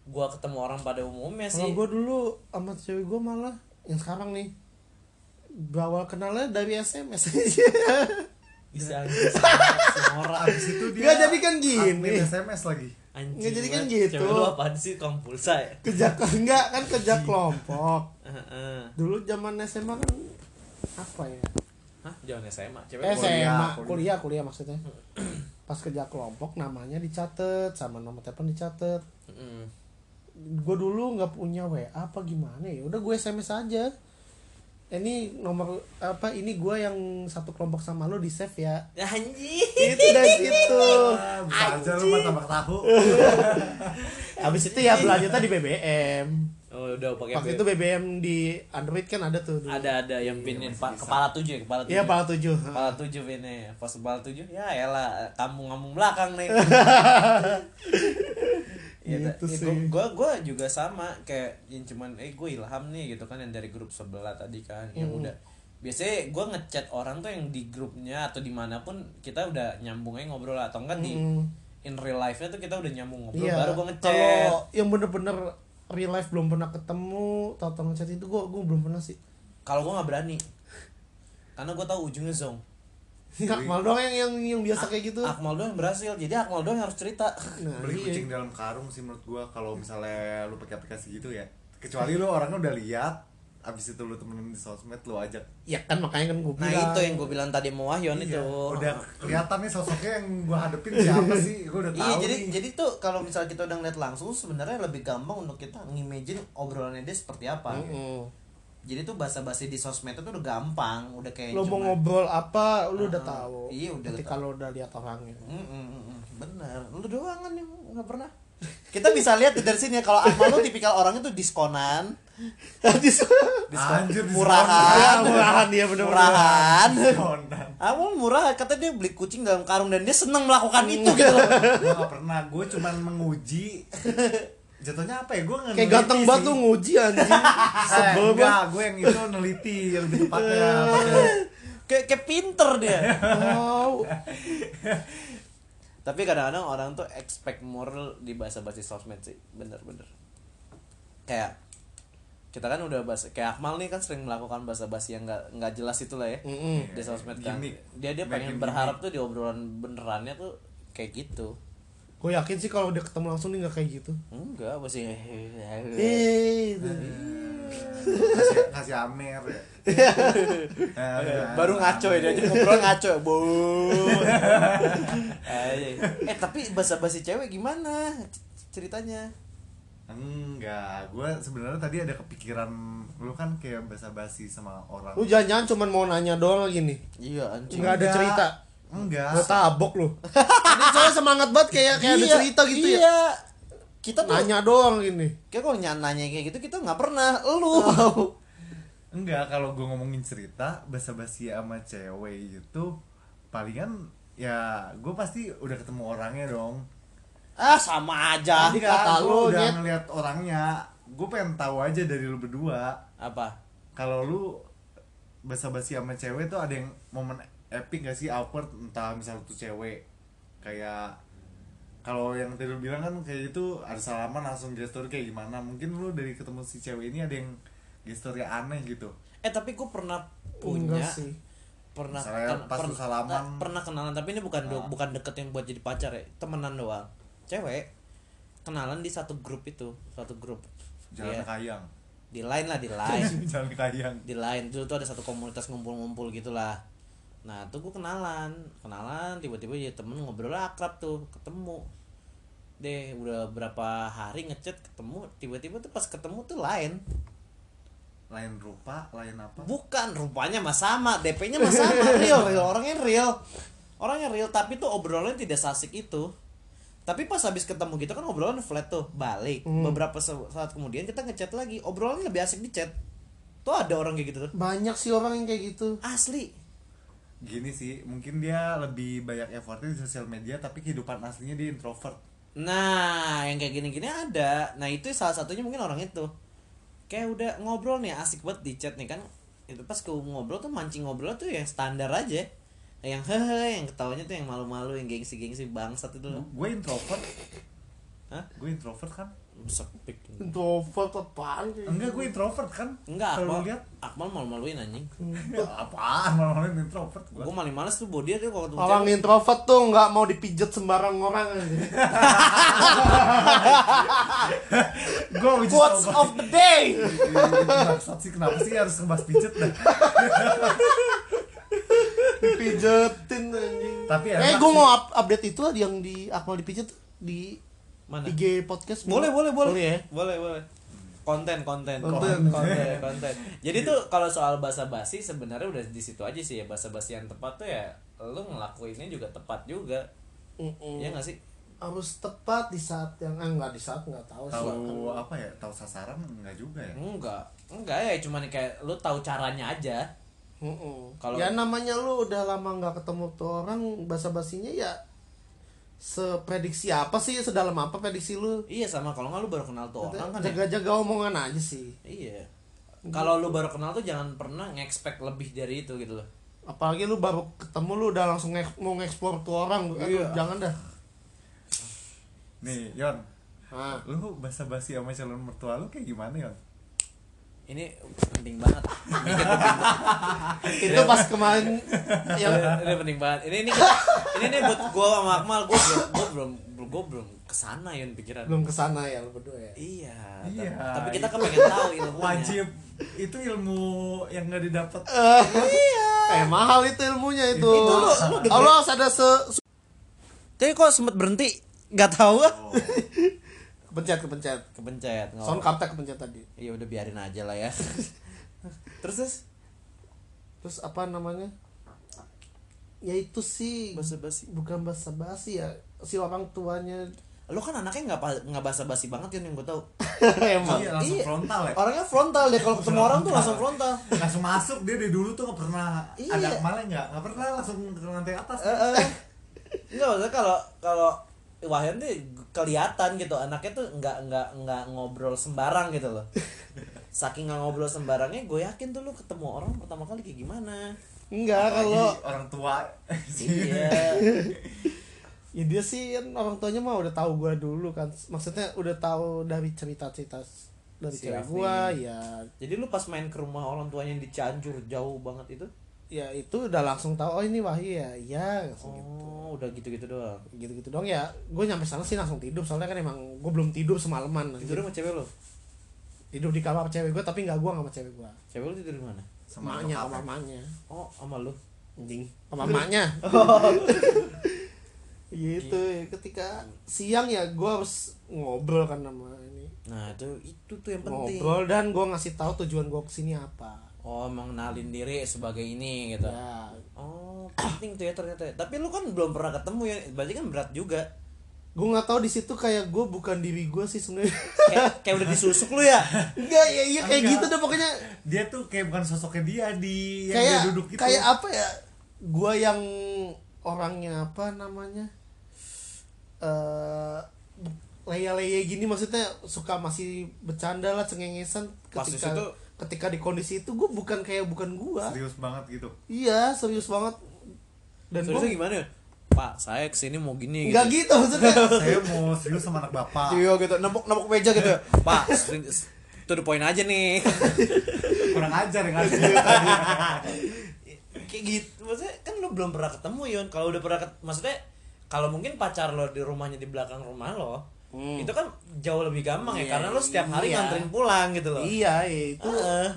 S6: gue ketemu orang pada umumnya
S2: Kalau
S6: Iya sih
S2: gue dulu sama cewek gue malah yang sekarang nih berawal kenalnya dari SMS aja.
S6: bisa aja sih.
S3: orang abis itu dia
S2: Nggak, jadi kan gini.
S3: admin sms lagi
S6: Anjing.
S2: Nggak, jadi kan
S6: banget.
S2: gitu.
S6: Cewek lu apaan sih kaum pulsa ya?
S2: [LAUGHS] kerja enggak kan kerja kelompok.
S6: Heeh.
S2: Dulu zaman SMA kan apa ya?
S6: Hah, jangan SMA. Cewek
S2: Eh,
S6: eh,
S2: SMA, kuliah,
S3: kuliah.
S2: kuliah maksudnya. [CLEARS THROAT] Pas kerja kelompok namanya dicatat sama nomor telepon dicatat. Gue dulu nggak punya WA apa gimana ya. Udah gue SMS aja. Ini nomor apa ini gue yang satu kelompok sama lo di save ya. Gitu,
S6: Anjing.
S2: Itu dari situ.
S3: ah, bisa aja lu mah tambah
S2: [LAUGHS]
S3: tahu
S2: Iya. Habis itu ya belanjutnya di BBM.
S6: Oh, udah pakai
S2: Waktu
S6: pin.
S2: itu BBM di Android kan ada tuh. dulu.
S6: ada ada yang pinin pa- kepala tujuh ya, kepala tujuh.
S2: Iya, pala tujuh.
S6: Kepala tujuh pinnya. Pas kepala tujuh, ya elah kampung-kampung belakang
S2: [LAUGHS]
S6: nih. Iya,
S2: Gitu
S6: ya,
S2: sih.
S6: gua- gua gua juga sama kayak yang cuman eh gue ilham nih gitu kan yang dari grup sebelah tadi kan yang
S2: Hmm.
S6: udah biasanya gua ngechat orang tuh yang di grupnya atau dimanapun kita udah nyambung aja ngobrol lah. atau enggak di in real life nya tuh kita udah nyambung ngobrol
S2: Mm, Iya.
S6: baru gua ngechat
S2: Kalau yang bener-bener real life belum pernah ketemu, tau tau ngechat itu gua gua belum pernah sih.
S6: kalau gua nggak berani karena gua tahu ujungnya zong Iya.
S2: Akmal doang yang yang yang biasa kayak gitu.
S6: Akmal doang yang berhasil jadi Akmal doang yang harus cerita
S2: [LAUGHS] Nah,
S3: beli
S2: iya.
S3: kucing dalam karung sih menurut gua kalau misalnya lu pakai aplikasi gitu ya kecuali lu orangnya udah lihat abis itu lu temenin di sosmed lu ajak
S2: Ya kan makanya kan gua
S6: nah
S2: bilang.
S6: itu yang gua bilang tadi mau Wahyon
S2: Iya,
S6: itu
S3: Iya. udah kelihatan nih sosoknya yang gua hadepin siapa sih gua udah tahu
S1: Iya jadi
S3: nih.
S1: jadi tuh kalau misalnya kita udah ngeliat langsung sebenarnya lebih gampang untuk kita ngimagine obrolannya dia seperti apa. gitu.
S2: Mm.
S1: Jadi tuh bahasa-bahasa di sosmed itu udah gampang, udah kayak
S2: Lo mau
S1: cuman-
S2: ngobrol apa, lu
S6: Ah,
S2: udah tahu.
S1: Iya, udah
S2: Nanti
S1: tahu.
S2: kalau udah lihat orangnya. [LAUGHS]
S1: Mm, mm, mm, mm. Bener, lu doang kan yang nggak pernah. Kita bisa lihat dari sini ya, kalau Akmal lu tipikal orangnya tuh diskonan,
S3: anjir
S2: kan?
S3: Iya,
S1: murahan,
S2: murahan dia bener-bener.
S1: murahan.
S3: Conan
S1: Akmal murah, katanya dia beli kucing dalam karung dan dia senang melakukan
S2: Iya.
S1: itu gitu loh.
S3: gua gak pernah gua cuman menguji jatuhnya apa ya gua nggak
S2: Kayak
S3: neliti
S2: ganteng banget
S3: sih.
S2: lu nguji
S6: [LAUGHS]
S2: anjing.
S3: Eh,
S2: Sebel banget.
S3: enggak gue yang itu neliti yang di tempatnya pakai
S2: [LAUGHS]
S1: Kayak kayak pinter dia.
S2: Wow.
S6: tapi kadang-kadang orang tuh expect moral di bahasa basi sosmed sih bener-bener kayak kita kan udah bahasa kayak Akmal nih kan sering melakukan bahasa basi yang nggak nggak jelas itulah ya di sosmed kan
S3: Gimik.
S6: dia dia
S3: Makin
S6: pengen berharap tuh di obrolan benerannya tuh kayak gitu
S2: Gue yakin sih kalau udah ketemu langsung nih nggak kayak gitu.
S6: enggak pasti
S2: Eh, itu.
S3: Kasih- kasih amer ya
S2: [LAUGHS]
S3: Nah,
S2: Iya,
S3: nah,
S6: baru ngaco ya dia aja ngobrol ngaco bu
S2: [LAUGHS]
S6: eh tapi bahasa basi cewek gimana C- ceritanya
S3: enggak gue sebenarnya tadi ada kepikiran lu kan kayak basa-basi sama orang
S2: Lu jangan-jangan cuma mau nanya doang lagi nih.
S6: iya anjing
S2: Oh, Nggak ada cerita.
S3: enggak
S2: Lu tabok lu. [LAUGHS] Ini soalnya semangat banget kayak kayak ada cerita gitu ya.
S6: iya. kita tuh
S2: Nanya doang gini.
S6: kayak kalau nyan- nanya kayak gitu kita nggak pernah lu
S3: Enggak, kalau gue ngomongin cerita basa-basi sama cewek itu palingan ya gue pasti udah ketemu orangnya dong.
S6: ah sama aja
S3: Tadi
S2: Ya, kata
S3: kan gue
S2: lu,
S3: udah
S2: Nyet.
S3: ngeliat orangnya, gue pengen tahu aja dari lu berdua.
S6: apa
S3: Kalau lu basa-basi sama cewek tuh ada yang momen epic gak sih awkward entah misalnya tuh cewek kayak kalau yang tadi lu bilang kan kayak itu ada salaman langsung gestur kayak gimana mungkin lu dari ketemu si cewek ini ada yang gesturnya aneh gitu
S6: eh tapi gue pernah punya
S2: Enggak sih.
S6: pernah
S3: Misalnya pas lu salaman. Ah.
S6: nah, pernah kenalan tapi ini bukan do- bukan deket yang buat jadi pacar ya temenan doang cewek kenalan di satu grup itu satu grup
S3: jalan
S6: Iya.
S3: kayang
S6: di lain lah di lain
S3: [LAUGHS] jalan kayang
S6: di lain dulu tuh ada satu komunitas ngumpul-ngumpul gitulah nah tuh gue kenalan kenalan tiba-tiba ya temen ngobrol akrab tuh ketemu deh udah berapa hari ngechat ketemu tiba-tiba tuh pas ketemu tuh lain
S3: lain rupa lain apa
S6: bukan rupanya mah sama DP-nya mah sama real real orangnya real orangnya real tapi tuh obrolan tidak sasik itu tapi pas habis ketemu gitu kan obrolan flat tuh balik beberapa se- saat kemudian kita ngechat lagi obrolannya lebih asik di chat tuh ada orang kayak gitu tuh
S2: Banyak sih orang yang kayak gitu.
S6: asli
S3: gini sih mungkin dia lebih banyak effortnya di sosial media tapi kehidupan aslinya dia introvert
S6: Nah, yang kayak gini-gini ada. Nah, itu salah satunya mungkin orang itu. Kayak udah ngobrol nih, asik banget di chat nih kan. Itu pas ke ngobrol tuh mancing ngobrol tuh yang standar aja. Nah, Yang hehe, yang ketawanya tuh yang malu-malu, yang gengsi-gengsi bangsat itu loh.
S3: gue introvert
S6: Hah?
S3: gue introvert kan
S6: Sepik.
S2: Introvert apaan sih?
S3: enggak gue introvert kan
S6: Enggak,
S3: kalau
S6: Akmal,
S3: lu lihat
S6: Akmal malu-maluin anjing.
S3: ya apaan malah introvert gue
S6: Gue malah males tuh body dia kalau ketemu
S2: Orang
S6: cewek.
S2: introvert tuh nggak mau dipijet sembarang orang.
S3: gue uji
S1: Quotes
S3: coba
S1: of the day.
S3: Bangsat sih kenapa sih harus ngebahas pijet dah
S2: Dipijetin anjing.
S3: tapi
S2: Eh,
S3: enak
S2: gue
S3: sih.
S2: mau up- update itu ada yang di Akmal dipijet di
S6: Mana?
S2: IG podcast.
S6: Boleh, boleh, boleh.
S2: Boleh ya?
S6: Boleh, boleh. Konten, konten,
S2: Konten. [LAUGHS]
S6: konten, konten.
S7: Jadi tuh kalau soal bahasa basi sebenarnya udah di situ aja sih ya bahasa basi yang tepat tuh ya lu ngelakuinnya juga tepat juga.
S2: Mm-mm.
S7: Iya nggak sih?
S2: harus tepat di saat yang ah nggak di saat nggak tahu sih
S3: tahu apa ya tahu sasaran enggak juga ya
S7: Enggak. Enggak ya cuman kayak lu tahu caranya aja.
S2: kalau ya namanya lu udah lama nggak ketemu tuh orang basa basinya ya seprediksi apa sih sedalam apa prediksi lu
S6: Iya sama kalau nggak lu baru kenal tuh orang kan ya.
S2: jaga jaga omongan aja sih
S6: Iya.
S7: Kalau lu baru kenal tuh jangan pernah nge-expect lebih dari itu gitu loh.
S2: apalagi lu baru ketemu lu udah langsung nge- mau ngeksplor tuh orang Aduh,
S6: Iya.
S2: jangan dah
S3: nih Yon
S6: [LAUGHS]
S2: Nah,
S3: lu basa-basi sama calon mertua lu kayak gimana Yon
S6: Ini penting banget.
S2: [LAUGHS]
S6: Iya.
S2: itu pas kemarin
S6: Ya, ini penting banget. Ini ini ini, ini buat gua sama Akmal gua belum gua belum gua belum kesana ya pikiran.
S2: belum kesana ya lu berdua ya
S6: Iya.
S3: Iya,
S6: tapi- Tapi kita
S3: itu.
S6: kan pengen tahu ilmunya.
S3: wajib itu ilmu yang nggak didapat
S2: [LAUGHS] eh mahal itu ilmunya itu,
S6: Iya. Itu lu- lu dengerin.
S2: Allah harus ada se se-
S6: Tapi kok sempet berhenti? Gak tahu ah.
S2: kepencet kepencet
S6: Kepencet. nggak
S2: sound
S6: apa-apa.
S2: kaptek kepencet tadi
S6: Iya udah biarin aja lah ya. [LAUGHS] terus terus
S2: terus apa namanya ya itu sih
S6: bahasa basi.
S2: bukan bahasa basi ya si orang tuanya
S6: Lu kan anaknya nggak pa- nggak bahasa basi banget Yun, yang gua tahu.
S2: [LAUGHS] emang
S3: iya langsung
S6: Iya.
S3: frontal ya
S6: Orangnya frontal deh kalau ketemu orang tuh langsung frontal.
S3: langsung masuk dia dari dulu tuh nggak pernah
S6: Iya. Eh,
S3: ada kemana nggak nggak pernah langsung ke lantai atas
S6: Heeh. Enggak maksudnya kalau kalau Wahyan tuh kelihatan gitu anaknya tuh nggak nggak nggak ngobrol sembarang gitu loh. Saking nggak ngobrol sembarangnya, gue yakin tuh lu ketemu orang pertama kali kayak gimana.
S2: enggak
S3: Apalagi
S2: kalau
S3: orang tua [LAUGHS]
S6: Iya.
S2: ya dia sih kan orang tuanya mah udah tahu gua dulu kan maksudnya udah tahu dari cerita cerita dari
S6: Si
S2: cewek
S6: Raffi.
S2: gua ya
S6: Jadi lu pas main ke rumah orang tuanya yang di Cianjur jauh banget itu,
S2: ya itu udah langsung tahu oh ini wahyu ya ya langsung
S6: oh udah gitu-gitu doang.
S2: gitu gitu dong ya gue nyampe sana sih langsung tidur soalnya kan emang gue belum tidur semalaman anjir.
S6: Tidur sama cewek lu?
S2: tidur di kamar cewek gue tapi nggak gue nggak sama cewek gue
S6: Cewek lu tidur di mana?
S3: Sama
S2: emaknya
S3: nyokap.
S2: sama emaknya
S6: Oh, sama lu.
S2: anjing sama emaknya gitu ya ketika siang ya gue harus ngobrol kan sama ini
S6: Nah, itu itu tuh yang penting.
S2: ngobrol dan gue ngasih tahu tujuan gue kesini apa
S6: Oh, mengenalin diri sebagai ini gitu.
S2: ya
S6: Oh, penting tuh ya ternyata. Tapi lu kan belum pernah ketemu ya. Berarti kan berat juga.
S2: gue nggak tahu di situ kayak gue bukan diri gue sih sebenarnya [LAUGHS]
S6: Kayak kayak udah disusuk lu ya.
S2: enggak ya iya kayak
S3: Enggak.
S2: gitu deh pokoknya
S3: Dia tuh kayak bukan sosoknya dia di yang
S2: kayak
S3: dia duduk itu.
S2: kayak apa ya gue yang orangnya apa namanya eh leye-leye gini maksudnya suka masih bercanda lah cengengesan
S6: Pas di
S2: ketika
S6: situ-
S2: ketika di kondisi itu gue bukan kayak bukan gue
S3: serius banget gitu.
S2: iya serius banget dan
S6: Terus
S2: gue
S6: gimana? Pak, saya kesini mau gini
S2: nggak
S6: gitu.
S2: gitu maksudnya
S3: [LAUGHS] Saya mau [LAUGHS] serius sama anak bapak.
S6: Iya gitu, nempok-nempok meja gitu. Pak, itu the point aja nih. [LAUGHS]
S3: Kurang ajar yang ada.
S6: kayak gitu maksudnya kan lu belum pernah ketemu Yun kalau udah pernah ket- maksudnya kalau mungkin pacar lo di rumahnya di belakang rumah lo itu kan jauh lebih gampang ya karena lo setiap hari
S2: iya.
S6: nganterin pulang gitu Eh, loh
S2: iya iya, itu
S6: Heeh.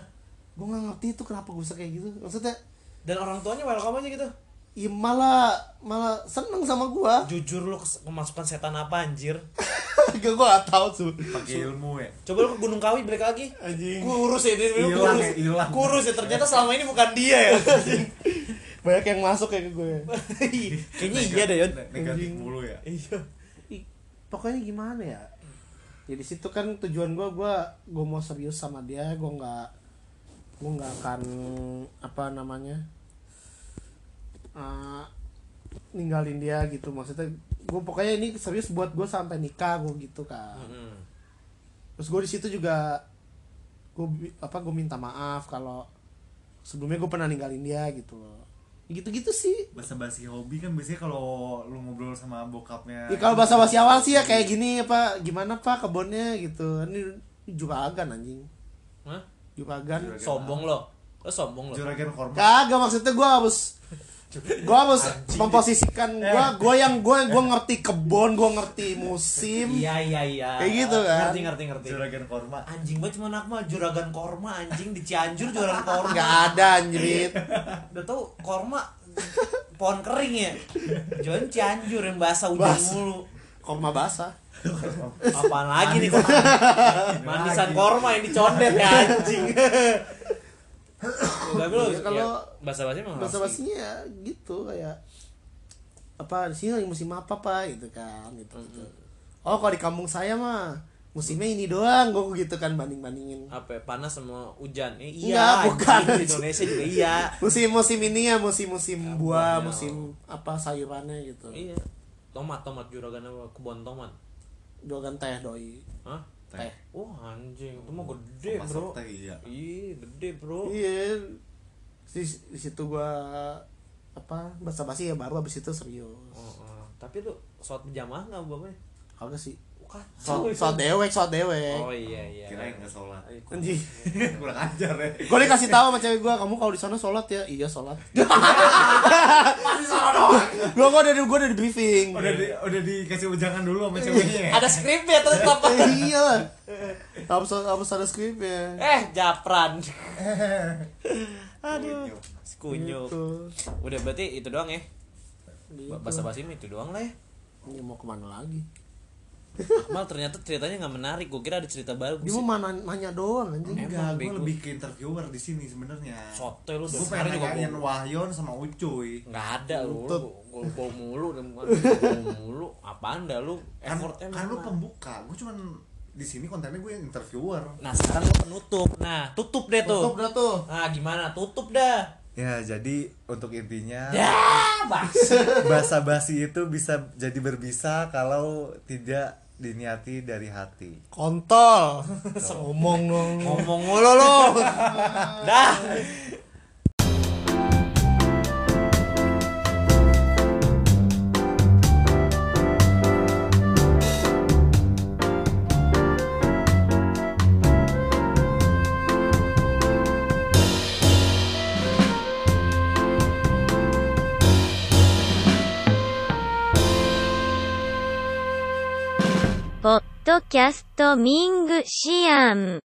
S2: gue nggak ngerti itu kenapa gue bisa kayak gitu maksudnya
S6: dan orang tuanya welcome aja gitu
S2: ya malah malah seneng sama
S3: [LAUGHS]
S2: gue
S6: jujur lo kes- kemasukan setan apa anjir
S2: gue gak tahu tuh
S3: Pakai ilmu ya.
S6: coba lo ke Gunung Kawi balik lagi
S2: anjing
S6: kurus ya dia
S3: Hilang
S6: bilang kurus
S3: ya, hilang.
S6: kurus ya ternyata selama ini bukan dia ya
S2: banyak yang masuk kayak ke gue
S6: kayaknya iya deh Yun
S3: Ne- Negatif mulu ya.
S6: iya
S2: Ih, pokoknya gimana ya jadi situ kan tujuan gue gue gue mau serius sama dia gue nggak gue nggak akan apa namanya eh, ninggalin dia gitu maksudnya gue pokoknya ini serius buat gue sampai nikah gue gitu kan terus gue di situ juga gue apa gue minta maaf kalau sebelumnya gue pernah ninggalin dia gitu loh gitu gitu sih
S3: Bahasa basi hobi kan biasanya kalau lu ngobrol sama bokapnya.
S2: Ya, kalau bahasa basi awal sih ya kayak gini apa gimana pak kebunnya gitu. Ini juragan anjing.
S6: Hah?
S2: Juragan.
S6: sombong lo lo sombong lo
S3: juragan hormat.
S2: Kagak maksudnya gua harus gua harus memposisikan gua gua yang gua gua ngerti kebun, gua ngerti musim.
S6: iya iya iya
S2: Kayak gitu kan.
S6: ngerti ngerti ngerti
S3: Juragan korma.
S6: anjing banget cuma aku mah juragan korma anjing di Cianjur juragan korma
S2: Enggak ada anjrit.
S6: udah tau korma pohon kering ya jualan Cianjur yang basah udah
S2: Basah.
S6: mulu
S2: Korma basah.
S6: apaan lagi nih korma manisan korma yang dicondet ya anjing Ya, tapi lo
S2: Iya, kalau
S6: bahasa bahasa emang
S2: Bahasa
S6: harus-
S2: basinya ya gitu kayak apa di sini lagi musim apa pak gitu kan gitu. gitu. Oh kalau di kampung saya mah musimnya ini doang gua gitu kan banding bandingin.
S6: apa ya, panas sama hujan eh,
S2: Enggak,
S6: iya anjing,
S2: bukan.
S6: di Indonesia juga iya
S2: musim-musim ini ya musim-musim buah
S6: buahnya. oh.
S2: musim apa sayurannya gitu
S6: iya tomat tomat juragan apa kebun tomat
S2: dogan teh doi
S6: Hah?
S3: Teh.
S6: Wah anjing,
S2: Oh,
S6: itu mah gede bro.
S3: Masuk teh iya.
S6: Iya, gede bro.
S2: iya di, di situ gua apa basa basi ya baru abis itu serius
S6: Oh, oh. Tapi lu sholat berjamaah nggak bapaknya?
S2: kagak sih
S6: Kacau.
S2: so, so dewek so dewek
S6: iya. Oh iya iya.
S3: Kirain nggak sholat.
S2: anjing
S3: [LAUGHS] Kurang ajar ya.
S2: gue dikasih tahu sama cewek gua kamu kalau di sana sholat ya iya
S6: [LAUGHS]
S2: sholat gue gua dari gua dari briefing
S3: Udah di, udah dikasih ujangan dulu sama ceweknya. ya?
S6: Ada skripnya tetap.
S2: iya harus harus ada skrip ya
S6: [LAUGHS] eh, japran. Aduh.
S3: Kunyuk.
S6: Kunyuk.
S2: Gitu.
S6: Udah berarti itu doang ya.
S2: Gitu.
S6: Bahasa basi itu doang lah ya.
S2: Ini mau kemana lagi
S6: Akmal ternyata ceritanya nggak menarik. Gue kira ada cerita baru.
S2: Dia mau mana nanya doang anjing.
S3: Enggak,
S6: Emang
S3: gue
S6: bego.
S3: lebih ke interviewer di sini sebenarnya.
S6: Sotoy lu
S3: Gue
S6: sekarang
S3: pengen
S6: juga
S3: nanyain
S6: bohong.
S3: Wahyon sama Ucuy.
S6: Nggak ada lu.
S2: Lutut.
S6: Gue mulu, gue mulu. Apaan dah lu?
S3: Kan,
S6: Effortnya
S3: kan lu
S6: mana?
S3: pembuka, gue cuman di sini kontennya gue yang interviewer.
S6: Nah sekarang lu penutup. Nah tutup deh tuh.
S2: Tutup dah tuh.
S6: Nah gimana? Tutup dah.
S3: Ya, jadi untuk intinya
S6: Ya bahas.
S3: [LAUGHS] bahasa basi itu bisa jadi berbisa kalau tidak diniati dari hati.
S2: Kontol. Ngomong dong.
S6: Ngomong mulu lu. Dah.
S4: ポッドキャストミングシアン。